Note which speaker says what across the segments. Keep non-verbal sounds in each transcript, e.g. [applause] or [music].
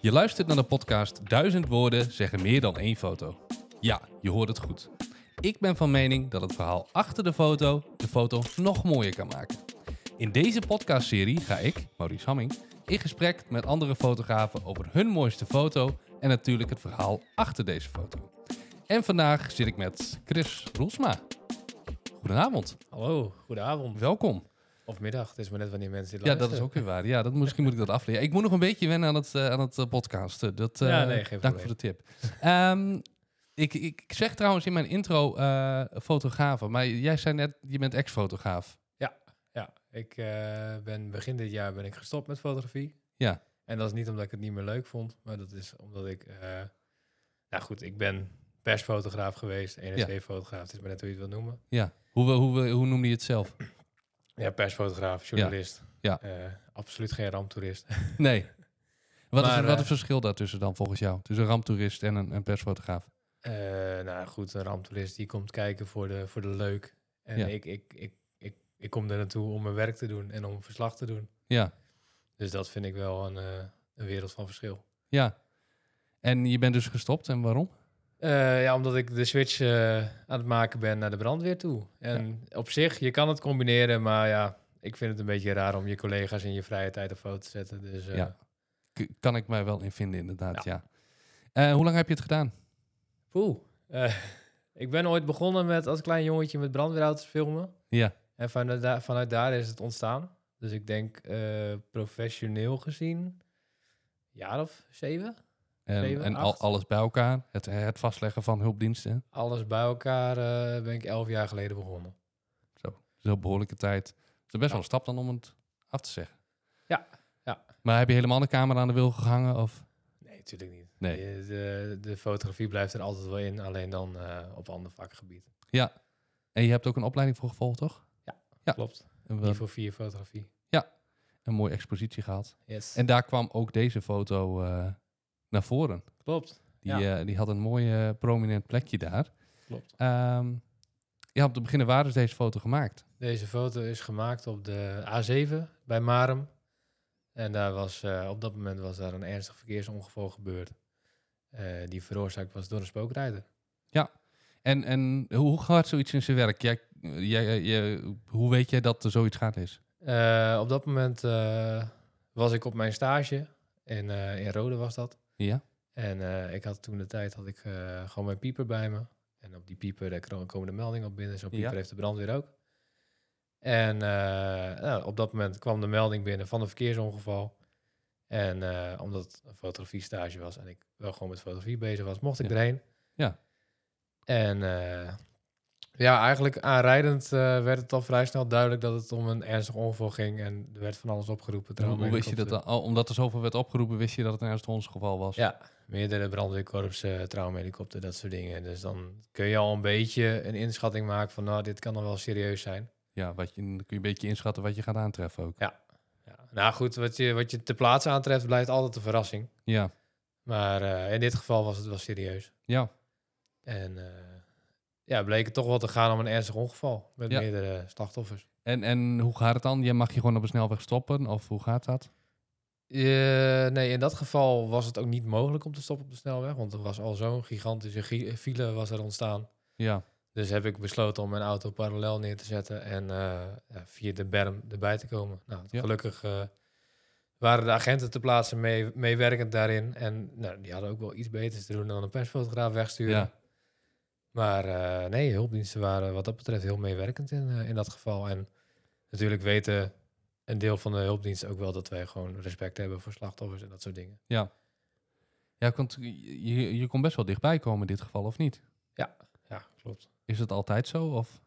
Speaker 1: Je luistert naar de podcast Duizend woorden zeggen meer dan één foto. Ja, je hoort het goed. Ik ben van mening dat het verhaal achter de foto de foto nog mooier kan maken. In deze podcastserie ga ik, Maurice Hamming, in gesprek met andere fotografen over hun mooiste foto en natuurlijk het verhaal achter deze foto. En vandaag zit ik met Chris Roelsma. Goedenavond,
Speaker 2: Hallo, goedenavond.
Speaker 1: welkom.
Speaker 2: Of middag, het is maar net wanneer mensen dit
Speaker 1: Ja, dat is
Speaker 2: luisteren.
Speaker 1: ook weer waar. Ja, dat, misschien moet ik dat afleren. Ik moet nog een beetje wennen aan het, eh, aan het eh, podcasten. Dat, eh,
Speaker 2: Ja, nee,
Speaker 1: dank
Speaker 2: geen probleem.
Speaker 1: voor de tip. Ehm, ik, ik ik zeg trouwens in mijn intro eh fotografen, maar jij zei net, je bent ex-fotograaf.
Speaker 2: Ja, ik eh, ben begin dit jaar ben ik gestopt met fotografie.
Speaker 1: Ja.
Speaker 2: En dat is niet omdat ik het niet meer leuk vond, maar dat is omdat ik... eh, nou goed, ik ben persfotograaf geweest, NRC-fotograaf, het is maar net hoe je het wil noemen.
Speaker 1: Ja. Hoe, we- hoe, we- hoe noemde je het zelf?
Speaker 2: Ja, persfotograaf, journalist.
Speaker 1: Ja.
Speaker 2: Eh, absoluut geen ramptoerist. [laughs]
Speaker 1: Nee. Wat, is,
Speaker 2: Maar,
Speaker 1: het- wat is
Speaker 2: eh,
Speaker 1: het verschil daartussen dan volgens jou? Tussen een ramptoerist en een, een persfotograaf?
Speaker 2: Eh, nou goed, een ramptoerist die komt kijken voor de, voor de leuk. En
Speaker 1: Ja.
Speaker 2: ik, ik, ik, ik, ik kom daar naartoe om mijn werk te doen en om verslag te doen.
Speaker 1: Ja.
Speaker 2: Dus dat vind ik wel een, eh, een wereld van verschil.
Speaker 1: Ja. En je bent dus gestopt en waarom?
Speaker 2: Eh, ja, omdat ik de switch eh, aan het maken ben naar de brandweer toe. En op zich, je kan het combineren, maar ja, ik vind het een beetje raar om je collega's in je vrije tijd op foto te zetten. Dus eh,
Speaker 1: Ja. K- kan ik mij wel in vinden inderdaad,
Speaker 2: Ja.
Speaker 1: ja. Eh, hoe lang heb je het gedaan?
Speaker 2: poeh. Eh, [laughs] ik ben ooit begonnen met als klein jongetje met brandweerauto's filmen.
Speaker 1: Ja.
Speaker 2: En vanuit, da- vanuit daar is het ontstaan. Dus ik denk eh, professioneel gezien, een jaar of zeven.
Speaker 1: En,
Speaker 2: Zeven,
Speaker 1: en al,
Speaker 2: acht.
Speaker 1: alles bij elkaar. Het, het vastleggen van hulpdiensten.
Speaker 2: Alles bij elkaar eh, ben ik elf jaar geleden begonnen.
Speaker 1: Zo'n behoorlijke tijd. Het is best wel
Speaker 2: Ja.
Speaker 1: een stap dan om het af te zeggen.
Speaker 2: Ja, ja.
Speaker 1: Maar heb je helemaal de camera aan de wil gehangen? Of?
Speaker 2: Nee, natuurlijk niet.
Speaker 1: Nee.
Speaker 2: Je- De, de fotografie blijft er altijd wel in, alleen dan eh, op ander vakgebied.
Speaker 1: Ja. En je hebt ook een opleiding voor gevolgd, toch? Ja.
Speaker 2: Klopt.
Speaker 1: En we-
Speaker 2: Niveau 4 fotografie.
Speaker 1: een mooie expositie gehad.
Speaker 2: Yes.
Speaker 1: En daar kwam ook deze foto eh, naar voren.
Speaker 2: klopt.
Speaker 1: Die,
Speaker 2: Ja.
Speaker 1: eh, die had een mooi eh, prominent plekje daar.
Speaker 2: Klopt.
Speaker 1: Ehm, ja, op de beginnen waar is deze foto gemaakt?
Speaker 2: Deze foto is gemaakt op de A7 bij Marum. En daar was, eh, op dat moment was daar een ernstig verkeersongeval gebeurd. eh, die veroorzaakt was door een spookrijder.
Speaker 1: En, en hoe gaat zoiets in zijn werk? Jij, jij, jij- hoe weet jij dat er zoiets gaat is?
Speaker 2: Eh, op dat moment eh, was ik op mijn stage. In, eh, in Rode was dat.
Speaker 1: Ja?
Speaker 2: En eh, ik had toen de tijd had ik eh, gewoon mijn pieper bij me. En op die pieper daar kro- komen de meldingen op binnen. Zo'n pieper
Speaker 1: Ja.
Speaker 2: heeft de brandweer ook. En eh, nou, op dat moment kwam de melding binnen van een verkeersongeval. En eh, omdat het een fotografiestage was en ik wel gewoon met fotografie bezig was, mocht ik
Speaker 1: Ja.
Speaker 2: erheen.
Speaker 1: Ja.
Speaker 2: En eh, ja, eigenlijk aanrijdend eh, werd het al vrij snel duidelijk dat het om een ernstig ongeval ging. En er werd van alles opgeroepen.
Speaker 1: Hoe, hoe wist je dat
Speaker 2: traumahelikopter.
Speaker 1: dan? Oh, omdat er zoveel werd opgeroepen, wist je dat het nou een ernstig ongeval was?
Speaker 2: Ja, meerdere brandweerkorpsen, traumahelikopter, dat soort dingen. Dus dan kun je al een beetje een inschatting maken van, nou, dit kan dan wel serieus zijn.
Speaker 1: Ja, wat je, dan kun je een beetje inschatten wat je gaat aantreffen ook.
Speaker 2: Ja. Nou goed, wat je, wat je te plaatsen aantreft blijft altijd een verrassing.
Speaker 1: Ja,
Speaker 2: Maar eh, in dit geval was het wel serieus.
Speaker 1: ja.
Speaker 2: En eh, ja, bleek het toch wel te gaan om een ernstig ongeval met
Speaker 1: Ja.
Speaker 2: meerdere slachtoffers.
Speaker 1: En, en hoe gaat het dan? Je mag je gewoon op een snelweg stoppen? Of hoe gaat dat?
Speaker 2: Eh, nee, in dat geval was het ook niet mogelijk om te stoppen op de snelweg, want er was al zo'n gigantische gi- file was er ontstaan.
Speaker 1: Ja,
Speaker 2: Dus heb ik besloten om mijn auto parallel neer te zetten en eh, ja, via de berm erbij te komen. Nou,
Speaker 1: Ja.
Speaker 2: Gelukkig eh, waren de agenten te plaatsen mee, meewerkend daarin. En nou, die hadden ook wel iets beters te doen dan een persfotograaf wegsturen.
Speaker 1: Ja.
Speaker 2: Maar eh, nee, hulpdiensten waren wat dat betreft heel meewerkend in, eh, in dat geval. En natuurlijk weten een deel van de hulpdiensten ook wel dat wij gewoon respect hebben voor slachtoffers en dat soort dingen.
Speaker 1: ja want je, je- je kon best wel dichtbij komen in dit geval, of niet?
Speaker 2: Ja, klopt.
Speaker 1: Is dat altijd zo? Of?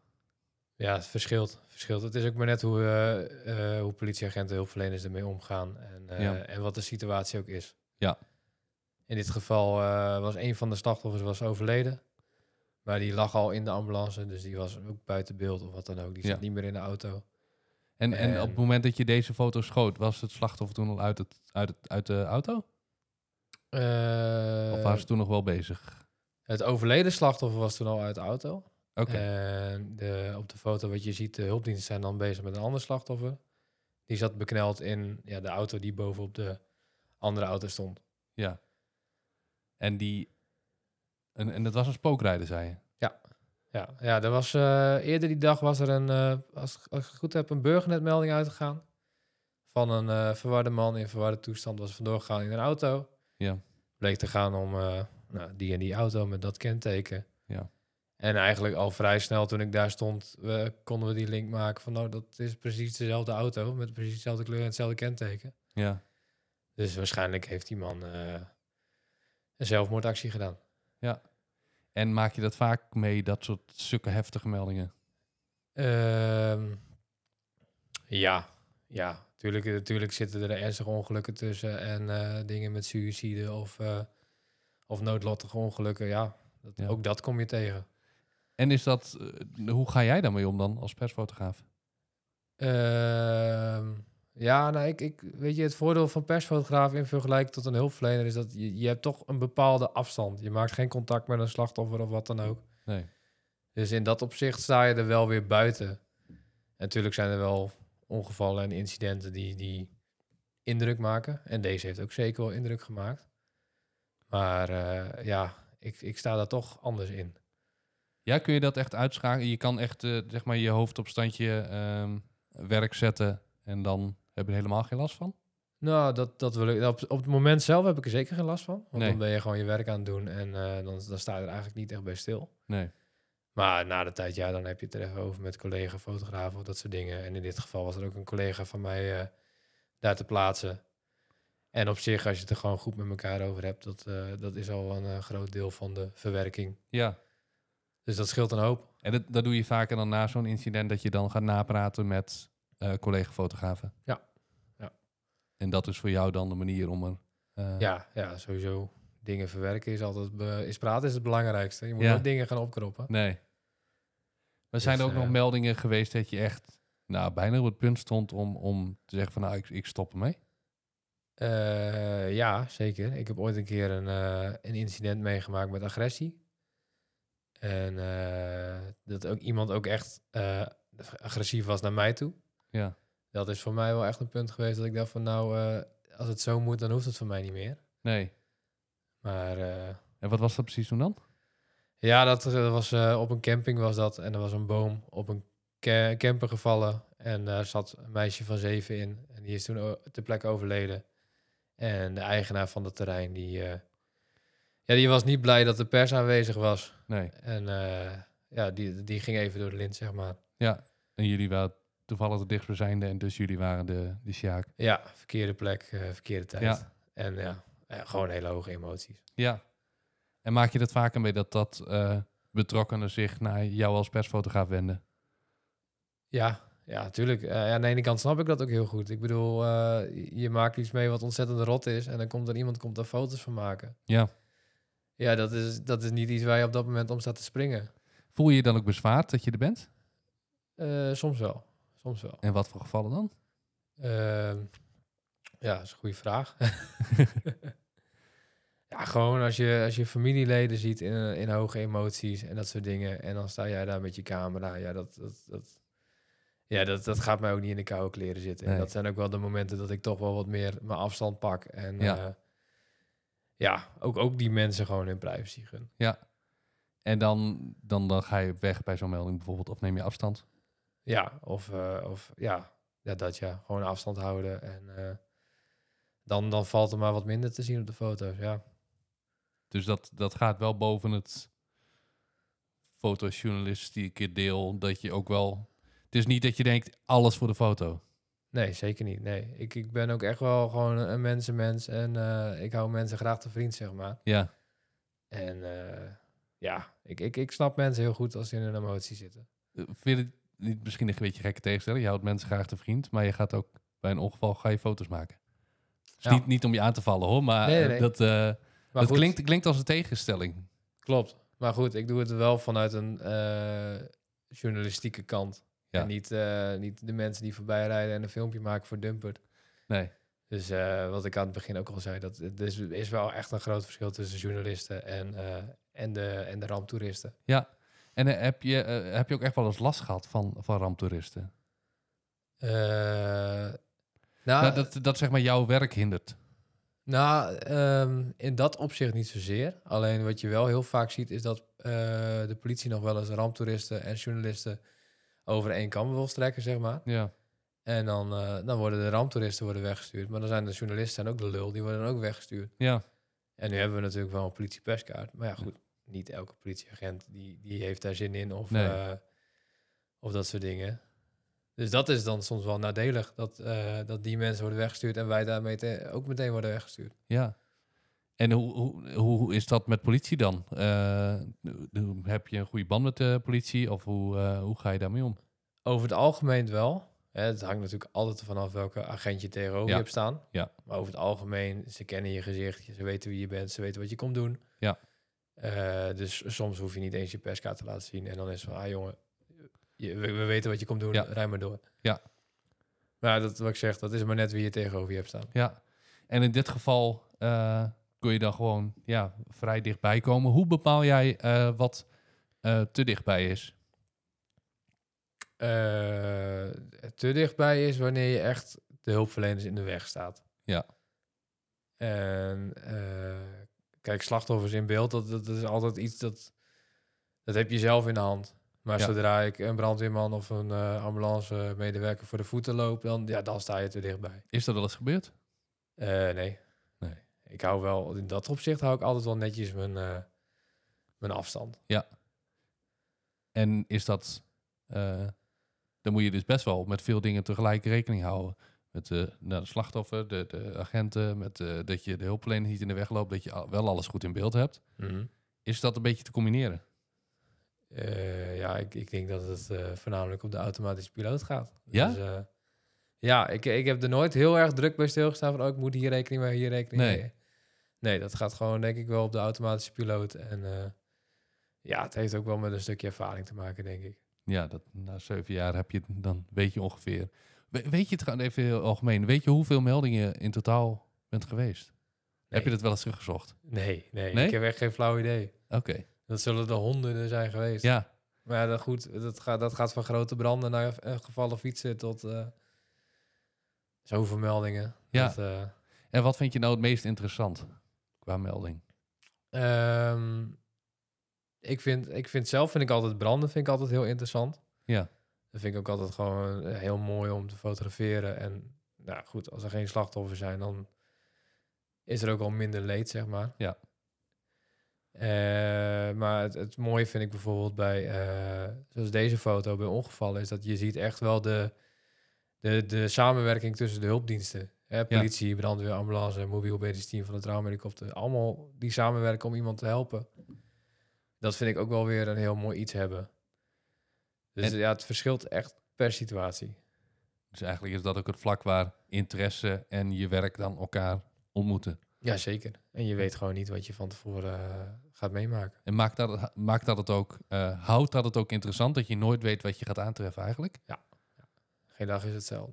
Speaker 2: Ja, het verschilt. verschilt. Het is ook maar net hoe, eh, eh, hoe politieagenten en hulpverleners ermee omgaan. En, eh,
Speaker 1: Ja.
Speaker 2: en wat de situatie ook is.
Speaker 1: Ja.
Speaker 2: In dit geval eh, was een van de slachtoffers was overleden. Maar die lag al in de ambulance. Dus die was ook buiten beeld of wat dan ook. Die zat
Speaker 1: Ja.
Speaker 2: niet meer in de auto.
Speaker 1: En, en, op
Speaker 2: Ehm.
Speaker 1: het moment dat je deze foto schoot, was het slachtoffer toen al uit, het, uit, het, uit de auto?
Speaker 2: Eh,
Speaker 1: of waren ze toen nog wel bezig?
Speaker 2: Het overleden slachtoffer was toen al uit de auto.
Speaker 1: Oké,
Speaker 2: Eh. En de, op de foto wat je ziet, de hulpdiensten zijn dan bezig met een ander slachtoffer. Die zat bekneld in ja, de auto die bovenop de andere auto stond.
Speaker 1: Ja. En die... En, en dat was een spookrijder, zei je?
Speaker 2: Ja, ja er was, eh, eerder die dag was er een, eh, als, als ik het goed heb, een burgernetmelding uitgegaan. Van een eh, verwarde man in verwarde toestand was vandoor gegaan in een auto.
Speaker 1: Ja.
Speaker 2: Bleek te gaan om eh, nou, die en die auto met dat kenteken.
Speaker 1: Ja.
Speaker 2: En eigenlijk al vrij snel toen ik daar stond, eh, konden we die link maken van nou, dat is precies dezelfde auto met precies dezelfde kleur en hetzelfde kenteken.
Speaker 1: Ja.
Speaker 2: Dus waarschijnlijk heeft die man eh, een zelfmoordactie gedaan.
Speaker 1: En maak je dat vaak mee, dat soort stukken heftige meldingen?
Speaker 2: Ehm, ja, ja. Tuurlijk, eh, tuurlijk zitten er ernstige ongelukken tussen en eh, dingen met suïcide of, eh, of noodlottige ongelukken. Ja, dat,
Speaker 1: Ja.
Speaker 2: ook dat kom je tegen.
Speaker 1: En is dat... eh, hoe ga jij daarmee om dan, als persfotograaf?
Speaker 2: Ehm, ja, nou, ik, ik, weet je, het voordeel van persfotograaf in vergelijking tot een hulpverlener is dat je, je hebt toch een bepaalde afstand. Je maakt geen contact met een slachtoffer of wat dan ook.
Speaker 1: Nee.
Speaker 2: Dus in dat opzicht sta je er wel weer buiten. En natuurlijk zijn er wel ongevallen en incidenten die, die indruk maken. En deze heeft ook zeker wel indruk gemaakt. Maar eh, ja, ik, ik sta daar toch anders in.
Speaker 1: Ja, kun je dat echt uitschakelen? Je kan echt eh, zeg maar je hoofd op standje ehm, werk zetten en dan heb je er helemaal geen last van?
Speaker 2: Nou, dat, dat wil ik. Op, op het moment zelf heb ik er zeker geen last van. Want
Speaker 1: Nee.
Speaker 2: dan ben je gewoon je werk aan het doen en eh, dan, dan sta je er eigenlijk niet echt bij stil.
Speaker 1: Nee.
Speaker 2: Maar na de tijd, ja, dan heb je het er even over met collega fotografen of dat soort dingen. En in dit geval was er ook een collega van mij eh, daar te plaatsen. En op zich, als je het er gewoon goed met elkaar over hebt, dat, eh, dat is al een eh, groot deel van de verwerking.
Speaker 1: Ja.
Speaker 2: Dus dat scheelt een hoop.
Speaker 1: En dat, dat doe je vaker dan na zo'n incident dat je dan gaat napraten met eh, collega-fotografen?
Speaker 2: Ja. Ja.
Speaker 1: En dat is voor jou dan de manier om er... eh,
Speaker 2: Ja, ja sowieso. Dingen verwerken is altijd, be- is praten is het belangrijkste. Je moet
Speaker 1: Ja.
Speaker 2: nooit dingen gaan opkroppen.
Speaker 1: Nee. Maar zijn er
Speaker 2: Dus,
Speaker 1: ook nog
Speaker 2: eh,
Speaker 1: meldingen geweest dat je echt nou, bijna op het punt stond om, om te zeggen van nou, ik, ik stop ermee?
Speaker 2: Eh, ja, zeker. Ik heb ooit een keer een, eh, een incident meegemaakt met agressie. En eh, dat ook iemand ook echt eh, agressief was naar mij toe.
Speaker 1: Ja.
Speaker 2: Dat is voor mij wel echt een punt geweest dat ik dacht van nou, eh, als het zo moet, dan hoeft het voor mij niet meer.
Speaker 1: Nee.
Speaker 2: Maar eh,
Speaker 1: En wat was dat precies toen dan?
Speaker 2: ja, dat, eh, was, eh, op een camping was dat. En er was een boom op een ca- camper gevallen. En daar zat een meisje van zeven in. En die is toen o- ter plekke overleden. En de eigenaar van dat terrein, die, eh, ja, die was niet blij dat de pers aanwezig was.
Speaker 1: Nee.
Speaker 2: En eh, ja, die, die ging even door de lint, zeg maar.
Speaker 1: En jullie waren toevallig de dichtstbijzijnde en dus jullie waren de, de sjaak.
Speaker 2: Ja, verkeerde plek, eh, verkeerde tijd.
Speaker 1: Ja.
Speaker 2: En ja, eh, gewoon hele hoge emoties.
Speaker 1: Ja. En maak je dat vaker mee dat dat eh, betrokkenen zich naar jou als persfotograaf wenden?
Speaker 2: Ja, ja, natuurlijk. ja, aan de ene kant snap ik dat ook heel goed. Ik bedoel, eh, je maakt iets mee wat ontzettend rot is en dan komt er iemand komt daar foto's van maken.
Speaker 1: Ja.
Speaker 2: Ja, dat is, dat is niet iets waar je op dat moment om staat te springen.
Speaker 1: Voel je je dan ook bezwaard dat je er bent?
Speaker 2: Eh, soms wel, soms wel.
Speaker 1: En wat voor gevallen dan?
Speaker 2: Ehm, ja, dat is een goede vraag. [laughs] ja, gewoon als je, als je familieleden ziet in, in hoge emoties en dat soort dingen. En dan sta jij daar met je camera. Ja, dat, dat, dat, ja, dat, dat gaat mij ook niet in de koude kleren zitten.
Speaker 1: Nee.
Speaker 2: En dat zijn ook wel de momenten dat ik toch wel wat meer mijn afstand pak. En
Speaker 1: Ja.
Speaker 2: ja, ja ook, ook die mensen gewoon hun privacy gun.
Speaker 1: En dan, dan, dan ga je weg bij zo'n melding bijvoorbeeld of neem je afstand?
Speaker 2: Ja, of, eh, of ja, ja, dat ja. Gewoon afstand houden. En eh, dan, dan valt er maar wat minder te zien op de foto's, ja.
Speaker 1: Dus dat, dat gaat wel boven het fotojournalistieke deel. Dat je ook wel. Het is niet dat je denkt alles voor de foto.
Speaker 2: Nee, zeker niet. Nee, ik, ik ben ook echt wel gewoon een mensenmens en eh, ik hou mensen graag te vriend, zeg maar.
Speaker 1: Ja,
Speaker 2: En eh, ja, ik, ik, ik snap mensen heel goed als ze in hun emotie zitten.
Speaker 1: Eh, vind je het niet misschien een beetje gekke tegenstelling? Je houdt mensen graag te vriend, maar je gaat ook bij een ongeval ga je foto's maken. Dus
Speaker 2: Ja.
Speaker 1: niet, niet om je aan te vallen hoor, maar
Speaker 2: Nee,
Speaker 1: eh,
Speaker 2: nee.
Speaker 1: dat, eh,
Speaker 2: Maar
Speaker 1: dat
Speaker 2: goed,
Speaker 1: klinkt, klinkt als een tegenstelling.
Speaker 2: Klopt. Maar goed, ik doe het wel vanuit een eh, journalistieke kant.
Speaker 1: Ja.
Speaker 2: En niet, eh, niet de mensen die voorbij rijden en een filmpje maken voor Dumpert.
Speaker 1: Nee,
Speaker 2: Dus eh, wat ik aan het begin ook al zei, dat er is, is wel echt een groot verschil tussen journalisten en, eh, en, de, en de ramptoeristen.
Speaker 1: ja. En eh, heb, je, eh, heb je ook echt wel eens last gehad van, van ramptoeristen?
Speaker 2: Eh, Ah.
Speaker 1: Nou, dat, dat zeg maar jouw werk hindert.
Speaker 2: Nou, ehm, in dat opzicht niet zozeer. Alleen wat je wel heel vaak ziet is dat eh, de politie nog wel eens ramptoeristen en journalisten over één kam wil strekken, zeg maar.
Speaker 1: Ja.
Speaker 2: En dan, eh, dan worden de ramptoeristen worden weggestuurd. Maar dan zijn de journalisten en ook de lul, die worden dan ook weggestuurd.
Speaker 1: Ja.
Speaker 2: En nu hebben we natuurlijk wel een politieperskaart. Maar ja, goed, niet elke politieagent die, die heeft daar zin in of,
Speaker 1: Nee.
Speaker 2: eh, of dat soort dingen. Dus dat is dan soms wel nadelig, dat, eh, dat die mensen worden weggestuurd en wij daarmee te- ook meteen worden weggestuurd.
Speaker 1: Ja. En hoe, hoe, hoe hoe is dat met politie dan? Eh, hoe- heb je een goede band met de politie of hoe, eh, hoe ga je daarmee om?
Speaker 2: Over het algemeen wel. Hè, het hangt natuurlijk altijd ervan af welke agent je tegenover
Speaker 1: Ja.
Speaker 2: je hebt staan.
Speaker 1: Ja.
Speaker 2: Maar over het algemeen, ze kennen je gezicht, ze weten wie je bent, ze weten wat je komt doen.
Speaker 1: Ja.
Speaker 2: Eh, dus soms hoef je niet eens je perskaart te laten zien. En dan is het van, ah jongen, je- we, we weten wat je komt doen,
Speaker 1: Ja.
Speaker 2: rij maar door.
Speaker 1: Ja.
Speaker 2: Maar dat wat ik zeg, dat is maar net wie je tegenover je hebt staan.
Speaker 1: Ja. En in dit geval eh, kun je dan gewoon ja, vrij dichtbij komen. Hoe bepaal jij eh, wat eh, te dichtbij is?
Speaker 2: Eh, te dichtbij is wanneer je echt de hulpverleners in de weg staat.
Speaker 1: Ja.
Speaker 2: En eh, kijk, slachtoffers in beeld, dat, dat is altijd iets dat, dat heb je zelf in de hand. Maar
Speaker 1: Ja.
Speaker 2: zodra ik een brandweerman of een eh, ambulance medewerker voor de voeten loop, dan, ja, dan sta je te dichtbij.
Speaker 1: Is dat wel eens gebeurd?
Speaker 2: Eh, nee.
Speaker 1: Nee.
Speaker 2: Ik hou wel, in dat opzicht hou ik altijd wel netjes mijn, eh, mijn afstand.
Speaker 1: En is dat. eh, dan moet je dus best wel met veel dingen tegelijk rekening houden. Met de, nou, de slachtoffer, de, de agenten, met eh, dat je de hulpverlener niet in de weg loopt, dat je al- wel alles goed in beeld hebt.
Speaker 2: Mhm.
Speaker 1: Is dat een beetje te combineren?
Speaker 2: Eh, ja, ik, ik denk dat het eh, voornamelijk op de automatische piloot gaat.
Speaker 1: Ja?
Speaker 2: Dus, eh, ja, ik, ik heb er nooit heel erg druk bij stilgestaan van... oh, ik moet hier rekening mee, hier rekening
Speaker 1: Nee.
Speaker 2: mee. Nee, dat gaat gewoon denk ik wel op de automatische piloot. En eh, ja, het heeft ook wel met een stukje ervaring te maken, denk ik.
Speaker 1: Ja, dat, na zeven jaar heb je, dan weet je ongeveer. We- weet je het gewoon even heel algemeen? Weet je hoeveel meldingen in totaal bent geweest? Heb je dat wel eens teruggezocht?
Speaker 2: Nee, nee,
Speaker 1: Nee?
Speaker 2: ik heb echt geen flauw idee.
Speaker 1: Oké.
Speaker 2: Dat zullen er honderden zijn geweest.
Speaker 1: Ja,
Speaker 2: Maar ja, dat, goed, dat, gaat, dat gaat van grote branden naar eh, gevallen fietsen tot eh, zoveel meldingen.
Speaker 1: Ja.
Speaker 2: Dat, eh,
Speaker 1: en wat vind je nou het meest interessant qua melding?
Speaker 2: Ehm, ik, vind, ik vind zelf vind ik altijd branden vind ik altijd heel interessant.
Speaker 1: Ja.
Speaker 2: Dat vind ik ook altijd gewoon eh, heel mooi om te fotograferen. En nou goed, als er geen slachtoffers zijn, dan is er ook al minder leed, zeg maar.
Speaker 1: Ja.
Speaker 2: Eh, maar het, het mooie vind ik bijvoorbeeld bij, eh, zoals deze foto bij ongevallen, is dat je ziet echt wel de, de, de samenwerking tussen de hulpdiensten. Hè, politie, brandweer, ambulance, mobiel medisch team van de traumahelikopter. Allemaal die samenwerken om iemand te helpen. Dat vind ik ook wel weer een heel mooi iets hebben. Dus
Speaker 1: En-
Speaker 2: ja, het verschilt echt per situatie.
Speaker 1: Dus eigenlijk is dat ook het vlak waar interesse en je werk dan elkaar ontmoeten.
Speaker 2: Ja, zeker. En je weet gewoon niet wat je van tevoren eh, gaat meemaken.
Speaker 1: En maakt dat, maakt dat het ook, eh, houdt dat het ook interessant dat je nooit weet wat je gaat aantreffen eigenlijk?
Speaker 2: Geen dag is hetzelfde.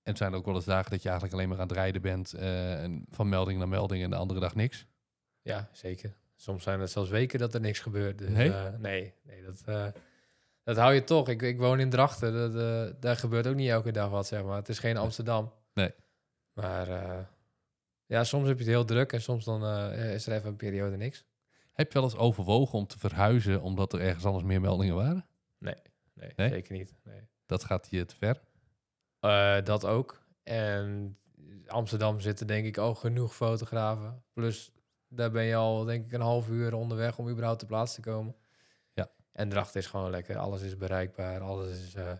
Speaker 1: En het zijn ook wel eens dagen dat je eigenlijk alleen maar aan het rijden bent, eh, en van melding naar melding en de andere dag niks.
Speaker 2: Ja, zeker. Soms zijn het zelfs weken dat er niks gebeurt. Dus,
Speaker 1: Nee?
Speaker 2: eh, nee, nee dat, eh, dat hou je toch. Ik, ik woon in Drachten. Dat, eh, daar gebeurt ook niet elke dag wat, zeg maar. Het is geen Amsterdam.
Speaker 1: Nee.
Speaker 2: Maar eh, ja, soms heb je het heel druk en soms dan eh, is er even een periode niks.
Speaker 1: Heb je wel eens overwogen om te verhuizen omdat er ergens anders meer meldingen waren?
Speaker 2: Nee,
Speaker 1: Nee?
Speaker 2: zeker niet. Nee.
Speaker 1: Dat gaat je te ver.
Speaker 2: Eh, dat ook. En Amsterdam zitten denk ik ook genoeg fotografen. Plus daar ben je al denk ik een half uur onderweg om überhaupt ter plaatse te komen.
Speaker 1: Ja.
Speaker 2: En Drachten is gewoon lekker. Alles is bereikbaar. Alles is eh,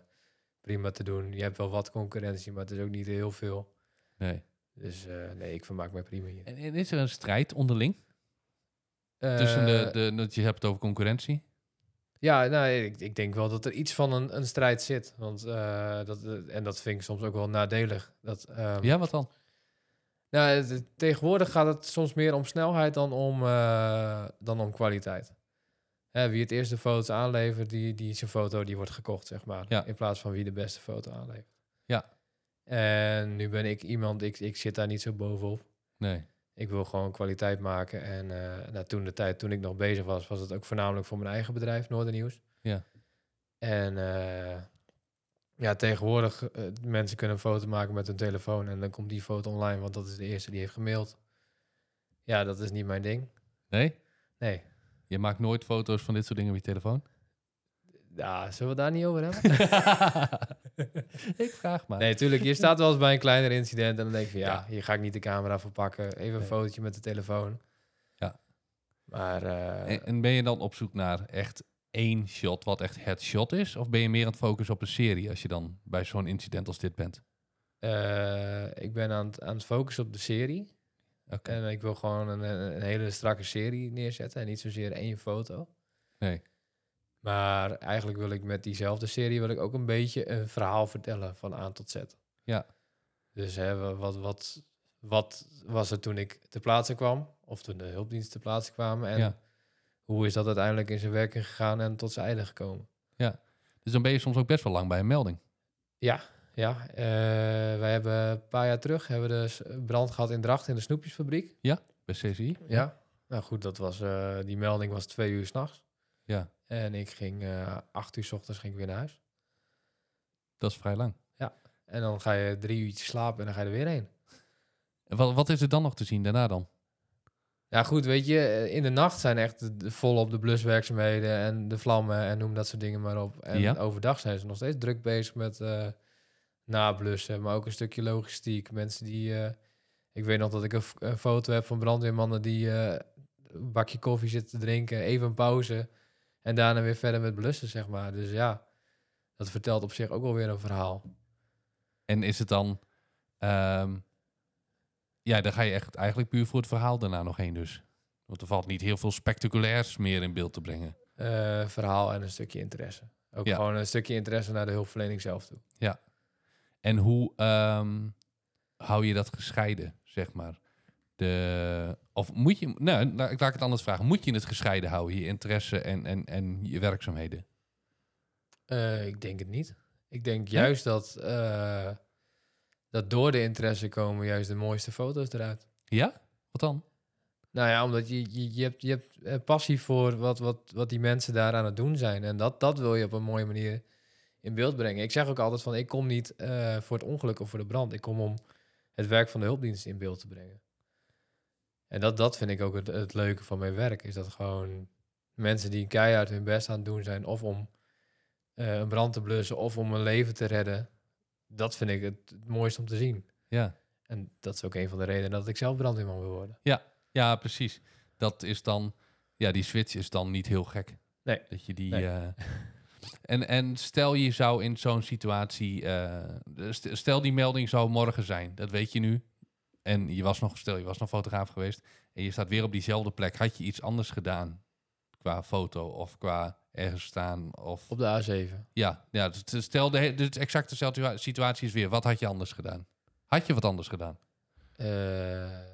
Speaker 2: prima te doen. Je hebt wel wat concurrentie, maar het is ook niet heel veel.
Speaker 1: Nee.
Speaker 2: Dus eh, nee, ik vermaak me prima hier.
Speaker 1: En, en is er een strijd onderling? Tussen de,
Speaker 2: Eh,
Speaker 1: de, dat je hebt het over concurrentie?
Speaker 2: Ja, nou, ik, ik denk wel dat er iets van een, een strijd zit. Want, eh, dat, eh, en dat vind ik soms ook wel nadelig. Dat, ehm,
Speaker 1: Ja, wat dan?
Speaker 2: Nou, het- het- tegenwoordig gaat het soms meer om snelheid dan om, eh, dan om kwaliteit. Hè, wie het eerst de foto's aanlevert, die, die zijn foto die wordt gekocht, zeg maar.
Speaker 1: Ja.
Speaker 2: In plaats van wie de beste foto aanlevert.
Speaker 1: Ja.
Speaker 2: En nu ben ik iemand, ik, ik zit daar niet zo bovenop.
Speaker 1: Nee.
Speaker 2: Ik wil gewoon kwaliteit maken. En eh, nou, toen de tijd, toen ik nog bezig was, was het ook voornamelijk voor mijn eigen bedrijf, Noordernieuws.
Speaker 1: Ja.
Speaker 2: En eh, Ja, tegenwoordig eh, mensen kunnen een foto maken met hun telefoon en dan komt die foto online, want dat is de eerste die heeft gemaild. Ja, dat is niet mijn ding.
Speaker 1: Nee?
Speaker 2: Nee.
Speaker 1: Je maakt nooit foto's van dit soort dingen met je
Speaker 2: [laughs]
Speaker 1: telefoon?
Speaker 2: Ja, zullen we het daar niet over hebben?
Speaker 1: ik vraag maar.
Speaker 2: nee, tuurlijk. Je staat wel eens bij een kleiner incident en dan denk je, van, ja,
Speaker 1: Ja.
Speaker 2: hier ga ik niet de camera voor pakken. Even een
Speaker 1: Nee.
Speaker 2: fotootje met de telefoon.
Speaker 1: Ja.
Speaker 2: Maar eh,
Speaker 1: En, en ben je dan op zoek naar echt één shot, wat echt het shot is? Of ben je meer aan het focussen op een serie als je dan bij zo'n incident als dit bent?
Speaker 2: eh, ik ben aan het, aan het focussen op de serie.
Speaker 1: Oké.
Speaker 2: En ik wil gewoon een, een een hele strakke serie neerzetten en niet zozeer één foto.
Speaker 1: Nee.
Speaker 2: Maar eigenlijk wil ik met diezelfde serie wil ik ook een beetje een verhaal vertellen van A tot Z.
Speaker 1: Ja.
Speaker 2: Dus hè, wa- wat, wat, wat was er toen ik ter plaatse kwam? Of toen de hulpdiensten ter plaatse kwamen? En
Speaker 1: Ja.
Speaker 2: hoe is dat uiteindelijk in zijn werking gegaan en tot zijn einde gekomen?
Speaker 1: Dus dan ben je soms ook best wel lang bij een melding.
Speaker 2: Ja, eh, wij hebben een paar jaar terug hebben we dus brand gehad in Dracht in de snoepjesfabriek.
Speaker 1: Bij CCI?
Speaker 2: Ja. Nou goed, dat was, eh, die melding was twee uur s'nachts.
Speaker 1: Ja,
Speaker 2: En ik ging eh acht uur s ochtends ging ik weer naar huis.
Speaker 1: dat is vrij lang.
Speaker 2: En dan ga je drie uurtjes slapen en dan ga je er weer heen.
Speaker 1: En wat, wat is er dan nog te zien daarna dan?
Speaker 2: Ja goed, weet je, eh, in de nacht zijn echt de- de- volop de bluswerkzaamheden en de vlammen en noem dat soort dingen maar op. En
Speaker 1: Ja.
Speaker 2: overdag zijn ze nog steeds druk bezig met eh, nablussen, maar ook een stukje logistiek. Mensen die, eh, ik weet nog dat ik een, f- een foto heb van brandweermannen die eh, een bakje koffie zitten te drinken, even een pauze en daarna weer verder met blussen, zeg maar. Dus ja, dat vertelt op zich ook wel weer een verhaal.
Speaker 1: En is het dan... ehm, ja, daar ga je echt eigenlijk puur voor het verhaal daarna nog heen dus. Want er valt niet heel veel spectaculairs meer in beeld te brengen.
Speaker 2: eh, verhaal en een stukje interesse. Ook
Speaker 1: Ja.
Speaker 2: gewoon een stukje interesse naar de hulpverlening zelf toe.
Speaker 1: En hoe ehm, hou je dat gescheiden, zeg maar? De, of moet je... Nou, la- laat ik het anders vragen. Moet je het gescheiden houden, je interesse en, en, en je werkzaamheden?
Speaker 2: Eh, ik denk het niet. Ik denk juist dat, eh, dat door de interesse komen juist de mooiste foto's eruit.
Speaker 1: Ja? Wat dan?
Speaker 2: Nou ja, omdat je, je, je hebt, je hebt eh, passie voor wat, wat, wat die mensen daar aan het doen zijn. En dat, dat wil je op een mooie manier in beeld brengen. Ik zeg ook altijd van, ik kom niet eh, voor het ongeluk of voor de brand. Ik kom om het werk van de hulpdienst in beeld te brengen. En dat, dat vind ik ook het, het leuke van mijn werk. Is dat gewoon mensen die keihard hun best aan het doen zijn... of om eh, een brand te blussen of om een leven te redden. Dat vind ik het, het mooiste om te zien.
Speaker 1: Ja.
Speaker 2: En dat is ook een van de redenen dat ik zelf brandweerman wil worden.
Speaker 1: Ja, precies. Dat is dan... Ja, die switch is dan niet heel gek.
Speaker 2: Nee.
Speaker 1: Dat je die...
Speaker 2: Nee.
Speaker 1: eh, en, en stel je zou in zo'n situatie... eh, st- stel die melding zou morgen zijn. Dat weet je nu. En je was nog... Stel, je was nog fotograaf geweest. En je staat weer op diezelfde plek. Had je iets anders gedaan? Qua foto of qua ergens staan of...
Speaker 2: Op de A7.
Speaker 1: Ja, ja dus t- stel de, he- dus exact dezelfde situa- situatie is weer. Wat had je anders gedaan? Had je wat anders gedaan?
Speaker 2: Eh,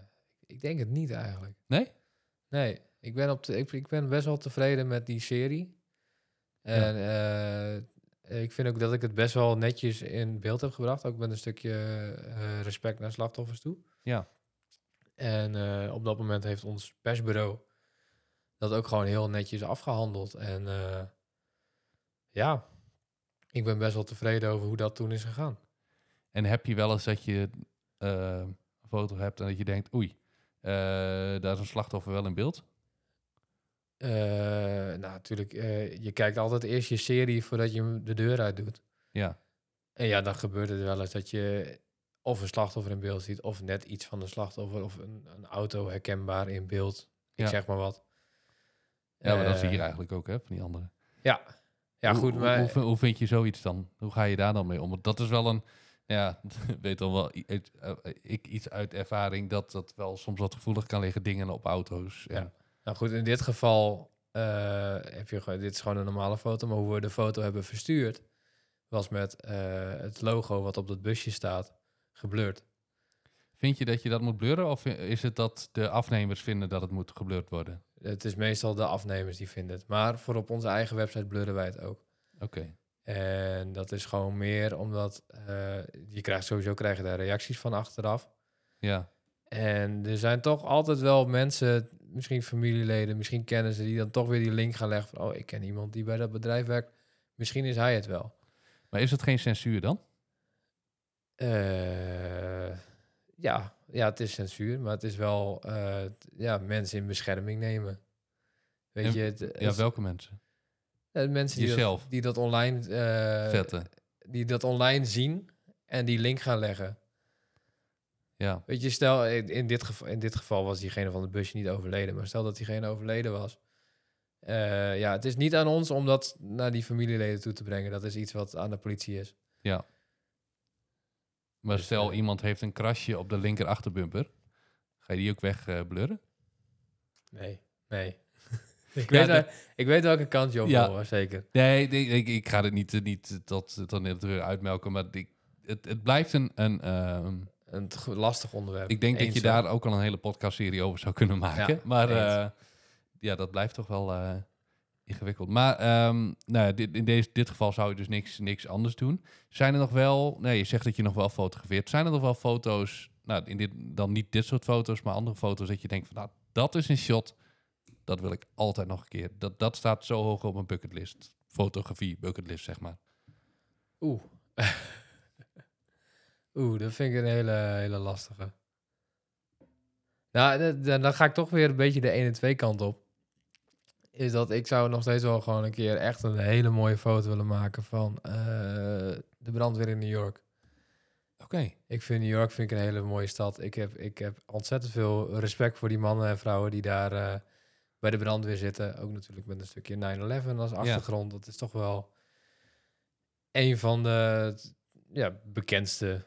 Speaker 2: ik denk het niet eigenlijk.
Speaker 1: Nee?
Speaker 2: Nee, ik ben, op de, ik, ik ben best wel tevreden met die serie. En eh, ik vind ook dat ik het best wel netjes in beeld heb gebracht. Ook met een stukje eh, respect naar slachtoffers toe.
Speaker 1: Ja.
Speaker 2: En eh, op dat moment heeft ons persbureau dat ook gewoon heel netjes afgehandeld. En eh, ja, ik ben best wel tevreden over hoe dat toen is gegaan.
Speaker 1: En heb je wel eens dat je eh, een foto hebt en dat je denkt... Oei, eh, daar is een slachtoffer wel in beeld.
Speaker 2: Eh, nou, natuurlijk, eh, je kijkt altijd eerst je serie voordat je hem de deur uit doet.
Speaker 1: Ja,
Speaker 2: En ja, dan gebeurt het wel eens dat je of een slachtoffer in beeld ziet, of net iets van een slachtoffer, of een, een auto herkenbaar in beeld. Ik
Speaker 1: Ja.
Speaker 2: zeg maar wat.
Speaker 1: ja maar dat
Speaker 2: Eh,
Speaker 1: zie je hier eigenlijk ook, hè, van die anderen.
Speaker 2: Ja,
Speaker 1: Hoe-
Speaker 2: goed,
Speaker 1: hoe,
Speaker 2: maar
Speaker 1: Hoe, vind- hoe vind je zoiets dan? Hoe ga je daar dan mee om? Want dat is wel een... Ja, [laughs] weet dan wel, i- uit- eh, ik iets uit ervaring dat dat wel soms wat gevoelig kan liggen, dingen op auto's. En,
Speaker 2: Nou goed, in dit geval eh, heb je gewoon, dit is gewoon een normale foto, maar hoe we de foto hebben verstuurd, was met eh, het logo wat op dat busje staat, geblurred.
Speaker 1: Vind je dat je dat moet blurren of is het dat de afnemers vinden dat het moet geblurred worden?
Speaker 2: Het is meestal de afnemers die vinden het. Maar voor op onze eigen website blurren wij het ook.
Speaker 1: Oké.
Speaker 2: En dat is gewoon meer omdat eh, je krijgt sowieso krijg je daar reacties van achteraf.
Speaker 1: Ja,
Speaker 2: En er zijn toch altijd wel mensen, misschien familieleden, misschien kennissen, die dan toch weer die link gaan leggen van, oh, ik ken iemand die bij dat bedrijf werkt. Misschien is hij het wel.
Speaker 1: maar Maar is dat geen censuur dan?
Speaker 2: Eh, ja, ja, het is censuur, maar het is wel eh, t- ja, mensen in bescherming nemen. Weet
Speaker 1: En-
Speaker 2: je, het,
Speaker 1: Ja,
Speaker 2: het-
Speaker 1: welke mensen?
Speaker 2: eh, de mensen die dat,
Speaker 1: Jezelf.
Speaker 2: die dat online eh,
Speaker 1: Vetten.
Speaker 2: die dat online zien en die link gaan leggen.
Speaker 1: Ja.
Speaker 2: Weet je, stel in, in dit geval, in dit geval was diegene van het busje niet overleden, maar stel dat diegene overleden was. Eh, ja, het is niet aan ons om dat naar die familieleden toe te brengen. Dat is iets wat aan de politie is.
Speaker 1: Maar
Speaker 2: Dus,
Speaker 1: stel,
Speaker 2: eh,
Speaker 1: iemand heeft een krasje op de linker achterbumper. Ga je die ook weg eh, blurren?
Speaker 2: Nee, nee. [laughs] ik,
Speaker 1: Ja,
Speaker 2: weet,
Speaker 1: dat-
Speaker 2: wel- ik weet welke kant je op
Speaker 1: Ja.
Speaker 2: wil, hoor, zeker.
Speaker 1: Nee, nee, ik, ik ga het niet, eh, niet tot, tot in het reur uitmelken. Maar ik, het, het blijft een... een ehm,
Speaker 2: Een t- lastig onderwerp.
Speaker 1: ik denk dat je
Speaker 2: Eens
Speaker 1: daar
Speaker 2: wel.
Speaker 1: ook al een hele podcastserie over zou kunnen maken.
Speaker 2: Ja,
Speaker 1: maar
Speaker 2: eens.
Speaker 1: eh, ja, dat blijft toch wel eh, ingewikkeld. Maar ehm, nou, ja, dit, in deze, dit geval zou je dus niks, niks anders doen. Zijn er nog wel... Nee, je zegt dat je nog wel fotografeert. Zijn er nog wel foto's... Nou, in dit, dan niet dit soort foto's, maar andere foto's... dat je denkt van, nou, dat is een shot... Dat wil ik altijd nog een keer. Dat, dat staat zo hoog op mijn bucketlist. Fotografie, bucketlist, zeg maar.
Speaker 2: Oeh. [laughs] Oeh, dat vind ik een hele, hele lastige. Nou, d- d- dan ga ik toch weer een beetje de 1 en 2 kant op. Is dat ik zou nog steeds wel gewoon een keer echt een hele mooie foto willen maken van eh, de brandweer in New York.
Speaker 1: Oké.
Speaker 2: Ik vind New York vind ik een hele mooie stad. Ik heb, ik heb ontzettend veel respect voor die mannen en vrouwen die daar eh, bij de brandweer zitten. Ook natuurlijk met een stukje 9-11 als achtergrond. Dat is toch wel een van de t- ja, bekendste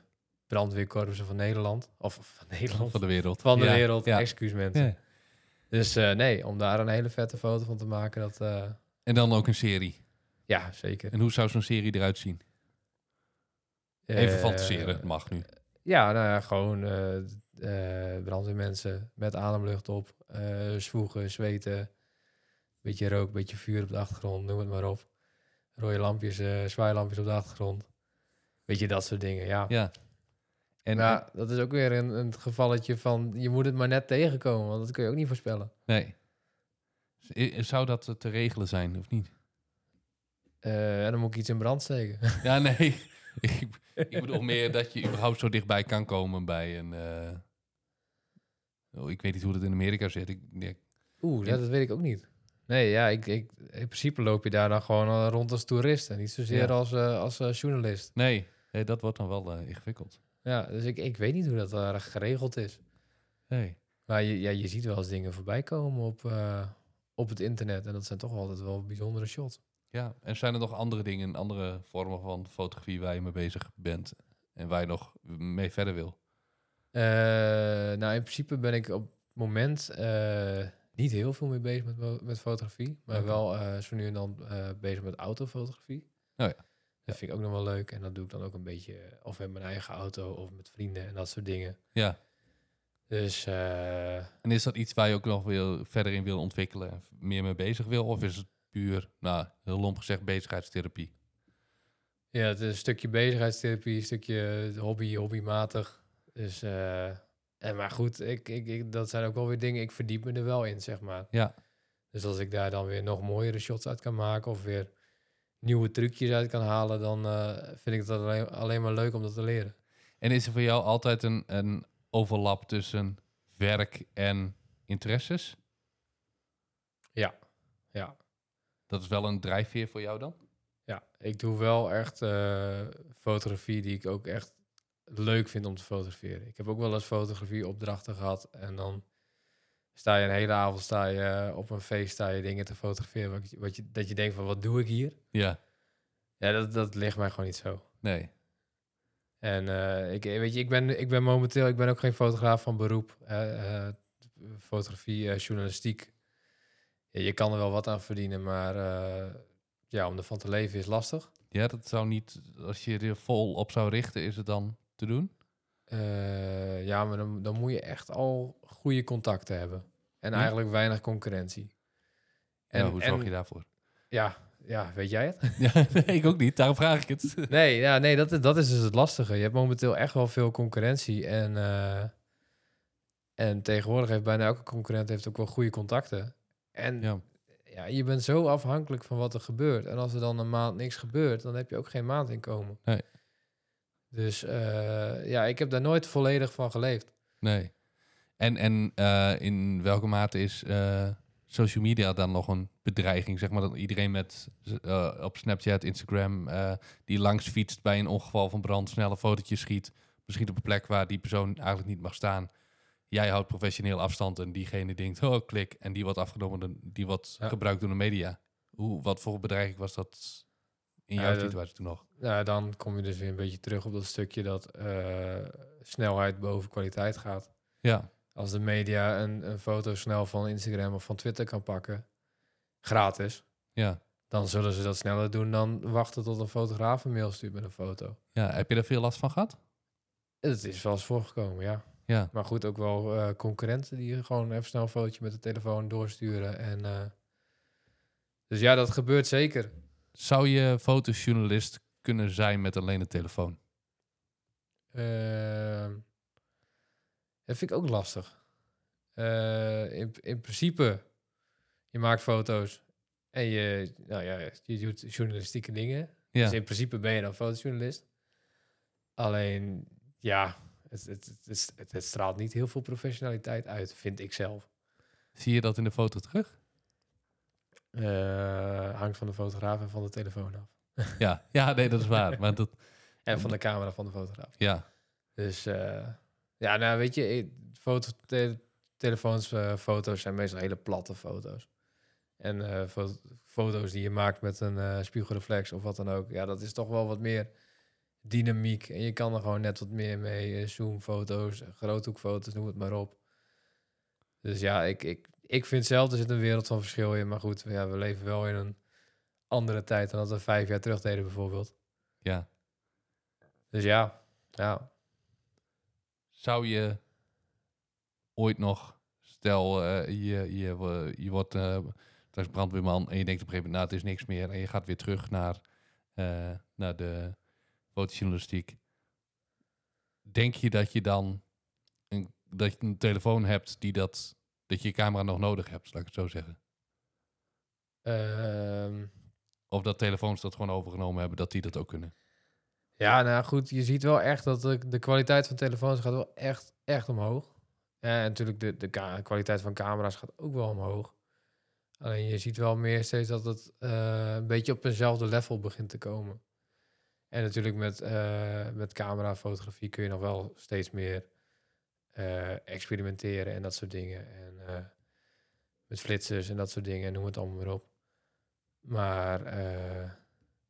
Speaker 2: brandweerkorpsen van Nederland. Of van Nederland.
Speaker 1: Van de wereld.
Speaker 2: Van de
Speaker 1: Ja,
Speaker 2: wereld,
Speaker 1: ja.
Speaker 2: excuus mensen.
Speaker 1: Ja.
Speaker 2: Dus eh, nee, om daar een hele vette foto van te maken, dat eh,
Speaker 1: En dan ook een serie.
Speaker 2: ja, zeker.
Speaker 1: En hoe zou zo'n serie eruit zien? Even
Speaker 2: Eh,
Speaker 1: fantaseren, het mag nu.
Speaker 2: Ja, nou ja, gewoon eh eh brandweermensen met ademlucht op, eh zwoegen, zweten, beetje rook, beetje vuur op de achtergrond, noem het maar op. Rode lampjes, eh zwaailampjes op de achtergrond. Weet je, dat soort dingen, ja.
Speaker 1: Ja. En,
Speaker 2: En ja, dat is ook weer een, een gevalletje van, je moet het maar net tegenkomen, want dat kun je ook niet voorspellen.
Speaker 1: Nee. Z- i- Zou dat eh, te regelen zijn, of niet?
Speaker 2: Eh, en dan moet ik iets in brand steken.
Speaker 1: [laughs]
Speaker 2: [laughs]
Speaker 1: Ja, nee. [laughs] ik, ik bedoel meer dat je überhaupt zo dichtbij kan komen bij een... eh, Oh, ik weet niet hoe dat in Amerika zit. Ik, ja,
Speaker 2: Oeh,
Speaker 1: Ja.
Speaker 2: ja, dat weet ik ook niet. Nee, ja, ik, ik, in principe loop je daar dan gewoon eh, rond als toerist en niet zozeer
Speaker 1: Ja.
Speaker 2: als, eh, als eh, journalist.
Speaker 1: nee, nee, dat wordt dan wel eh, ingewikkeld.
Speaker 2: Ja, dus ik, ik weet niet hoe dat daar geregeld is.
Speaker 1: Nee.
Speaker 2: Maar je, ja, je ziet wel eens dingen voorbij komen op, eh, op het internet. En dat zijn toch altijd wel bijzondere shots.
Speaker 1: Ja, en zijn er nog andere dingen, andere vormen van fotografie waar je mee bezig bent en waar je nog mee verder wil?
Speaker 2: Eh, nou, in principe ben ik op het moment eh, niet heel veel mee bezig met, mo- met fotografie. Maar
Speaker 1: Oké.
Speaker 2: wel eh, zo nu en dan eh, bezig met autofotografie.
Speaker 1: Oh ja. Ja.
Speaker 2: Dat vind ik ook nog wel leuk. En dat doe ik dan ook een beetje eh, of met mijn eigen auto of met vrienden en dat soort dingen.
Speaker 1: Ja.
Speaker 2: Dus eh,
Speaker 1: En is dat iets waar je ook nog wil, verder in wil ontwikkelen, en meer mee bezig wil? Of is het puur, nou, heel lomp gezegd, bezigheidstherapie?
Speaker 2: Ja, het is een stukje bezigheidstherapie, een stukje eh, hobby, hobbymatig. Dus, eh, en maar goed, ik, ik, ik, dat zijn ook wel weer dingen, ik verdiep me er wel in, zeg maar.
Speaker 1: Ja.
Speaker 2: Dus als ik daar dan weer nog mooiere shots uit kan maken of weer nieuwe trucjes uit kan halen, dan eh, vind ik dat alleen, alleen maar leuk om dat te leren.
Speaker 1: En is er voor jou altijd een, een overlap tussen werk en interesses?
Speaker 2: Ja, ja.
Speaker 1: Dat is wel een drijfveer voor jou dan?
Speaker 2: Ja, ik doe wel echt eh, fotografie die ik ook echt leuk vind om te fotograferen. Ik heb ook wel eens fotografieopdrachten gehad en dan sta je een hele avond sta je eh, op een feest sta je dingen te fotograferen wat je, wat je, dat je denkt van wat doe ik hier?
Speaker 1: Ja,
Speaker 2: Ja, dat, dat ligt mij gewoon niet zo.
Speaker 1: nee.
Speaker 2: En eh, ik, weet je, ik, ben, ik ben momenteel ik ben ook geen fotograaf van beroep. eh, eh, fotografie, eh, journalistiek. Ja, je kan er wel wat aan verdienen, maar eh, ja, om ervan te leven is lastig.
Speaker 1: Ja, dat zou niet, als je er vol op zou richten, is het dan te doen?
Speaker 2: Eh, ja, maar dan, dan moet je echt al goede contacten hebben. En
Speaker 1: Ja.
Speaker 2: eigenlijk weinig concurrentie.
Speaker 1: En hoe zorg je daarvoor?
Speaker 2: Ja, ja, weet jij het?
Speaker 1: [laughs] ja, nee, ik ook niet, daarom vraag ik het.
Speaker 2: [laughs] nee, ja, nee dat, is- dat is dus het lastige. Je hebt momenteel echt wel veel concurrentie. En, eh, en tegenwoordig heeft bijna elke concurrent heeft ook wel goede contacten. En ja.
Speaker 1: ja.
Speaker 2: Ja, je bent zo afhankelijk van wat er gebeurt. En als er dan een maand niks gebeurt, dan heb je ook geen maandinkomen.
Speaker 1: Nee.
Speaker 2: Dus eh, ja, ik heb daar nooit volledig van geleefd.
Speaker 1: Nee. En, en eh, in welke mate is eh, social media dan nog een bedreiging? Zeg maar dat iedereen met, eh, op Snapchat, Instagram, eh, die langs fietst bij een ongeval van brand, snelle fotootjes schiet. Misschien op een plek waar die persoon eigenlijk niet mag staan. Jij houdt professioneel afstand en diegene denkt, oh klik, en die wordt afgenomen, dan- die wordt
Speaker 2: Ja.
Speaker 1: gebruikt door de media. Hoe, wat voor bedreiging was dat in
Speaker 2: Ja,
Speaker 1: jouw
Speaker 2: dat-
Speaker 1: situatie toen nog?
Speaker 2: Nou, dan kom je dus weer een beetje terug op dat stukje dat eh, snelheid boven kwaliteit gaat.
Speaker 1: Ja,
Speaker 2: als de media een, een foto snel van Instagram of van Twitter kan pakken, gratis,
Speaker 1: ja.
Speaker 2: dan zullen ze dat sneller doen dan wachten tot een fotograaf een mail stuurt met een foto.
Speaker 1: ja. Heb je daar veel last van gehad?
Speaker 2: Het is wel eens voorgekomen, ja.
Speaker 1: Ja,
Speaker 2: Maar goed, ook wel eh, concurrenten die gewoon even snel een fotootje met de telefoon doorsturen. En, eh, dus ja, dat gebeurt zeker.
Speaker 1: Zou je fotojournalist kunnen zijn met alleen een telefoon?
Speaker 2: Ehm, dat vind ik ook lastig. Eh, in, in principe, je maakt foto's en je, nou ja, je doet journalistieke dingen.
Speaker 1: Ja,
Speaker 2: Dus in principe ben je dan fotojournalist. Alleen, ja, het, het, het, is- het, het straalt niet heel veel professionaliteit uit, vind ik zelf.
Speaker 1: zie je dat in de foto terug?
Speaker 2: Eh, hangt van de fotograaf en van de telefoon af.
Speaker 1: Ja, ja nee, dat is waar. Maar dat,
Speaker 2: En van de camera van de fotograaf.
Speaker 1: ja,
Speaker 2: Dus eh, ja, nou weet je, ik- foto, te- telefoons, eh, foto's zijn meestal hele platte foto's. En eh, fo- foto's die je maakt met een eh, spiegelreflex of wat dan ook, ja, dat is toch wel wat meer dynamiek. En je kan er gewoon net wat meer mee, eh, zoomfoto's, groothoekfoto's, noem het maar op. Dus ja, ik, ik, ik vind zelf, er zit een wereld van verschil in. Maar goed, ja, we leven wel in een andere tijd dan dat we vijf jaar terug deden bijvoorbeeld.
Speaker 1: ja.
Speaker 2: Dus ja, ja,
Speaker 1: Zou je ooit nog, stel eh, je, je, wo- je wordt eh, straks brandweerman en je denkt op een gegeven moment, nou het is niks meer. En je gaat weer terug naar, eh, naar de fotojournalistiek. Denk je dat je dan een, dat je een telefoon hebt die dat, dat je je camera nog nodig hebt, laat ik het zo zeggen?
Speaker 2: Ehm,
Speaker 1: Of dat telefoons dat gewoon overgenomen hebben, dat die dat ook kunnen.
Speaker 2: ja, nou goed, je ziet wel echt dat de, de kwaliteit van telefoons gaat wel echt, echt omhoog. Ja, en natuurlijk de, de ka- kwaliteit van camera's gaat ook wel omhoog. Alleen je ziet wel meer steeds dat het eh, een beetje op eenzelfde level begint te komen. En natuurlijk met, eh met camerafotografie kun je nog wel steeds meer eh, experimenteren en dat soort dingen. En eh, met flitsers en dat soort dingen en noem het allemaal maar op. Maar eh,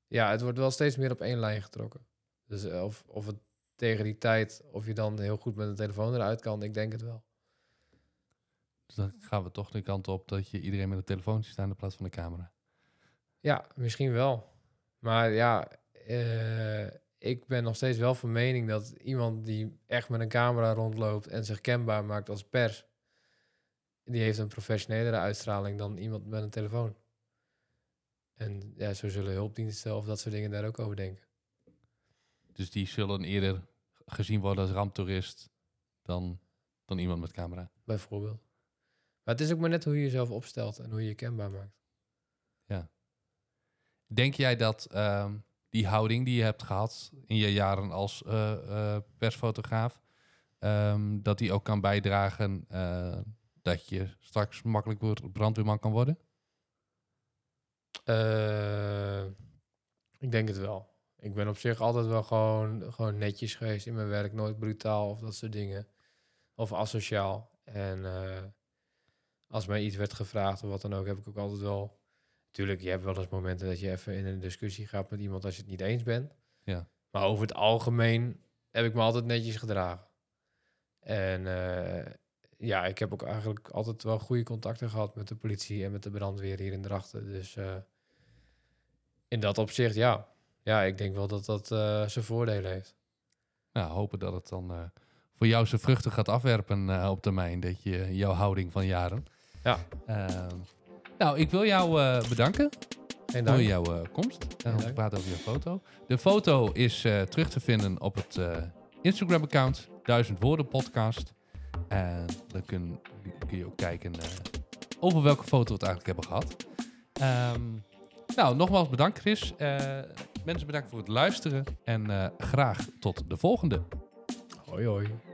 Speaker 2: ja, het wordt wel steeds meer op één lijn getrokken. Dus eh, of, of het tegen die tijd, of je dan heel goed met een telefoon eruit kan, ik denk het wel.
Speaker 1: Dus dan gaan we toch de kant op dat je iedereen met een telefoon ziet staan in plaats van de camera.
Speaker 2: Ja, misschien wel. Maar ja, eh, ik ben nog steeds wel van mening dat iemand die echt met een camera rondloopt en zich kenbaar maakt als pers, die heeft een professionelere uitstraling dan iemand met een telefoon. En ja, zo zullen hulpdiensten of dat soort dingen daar ook over denken.
Speaker 1: Dus die zullen eerder gezien worden als ramptoerist dan, dan iemand met camera.
Speaker 2: Bijvoorbeeld. Maar het is ook maar net hoe je jezelf opstelt en hoe je je kenbaar maakt.
Speaker 1: Denk jij dat ehm, die houding die je hebt gehad in je jaren als eh, eh, persfotograaf, ehm, dat die ook kan bijdragen eh, dat je straks makkelijk wordt- brandweerman kan worden?
Speaker 2: Eh, ik denk het wel. Ik ben op zich altijd wel gewoon, gewoon netjes geweest in mijn werk. Nooit brutaal of dat soort dingen. Of asociaal. En eh, als mij iets werd gevraagd of wat dan ook, heb ik ook altijd wel... Tuurlijk, je hebt wel eens momenten dat je even in een discussie gaat met iemand als je het niet eens bent.
Speaker 1: Ja.
Speaker 2: Maar over het algemeen heb ik me altijd netjes gedragen. En eh, ja, ik heb ook eigenlijk altijd wel goede contacten gehad met de politie en met de brandweer hier in Drachten. Dus eh, in dat opzicht, ja. Ja, ik denk wel dat dat eh, zijn voordelen heeft.
Speaker 1: Nou, hopen dat het dan eh, voor jou zijn vruchten gaat afwerpen eh, op termijn. Dat je jouw houding van jaren.
Speaker 2: Ja.
Speaker 1: Ehm, nou, ik wil jou eh, bedanken
Speaker 2: En
Speaker 1: voor
Speaker 2: dan
Speaker 1: jouw eh, komst.
Speaker 2: Ja,
Speaker 1: En we
Speaker 2: dank.
Speaker 1: praten over je foto. De foto is eh, terug te vinden op het eh, Instagram-account 1000 Woorden Podcast. En dan kun, kun je ook kijken eh, over welke foto we het eigenlijk hebben gehad. Ehm, nou, nogmaals bedankt Chris. Eh, mensen bedankt voor het luisteren. En eh, graag tot de volgende.
Speaker 2: Hoi hoi.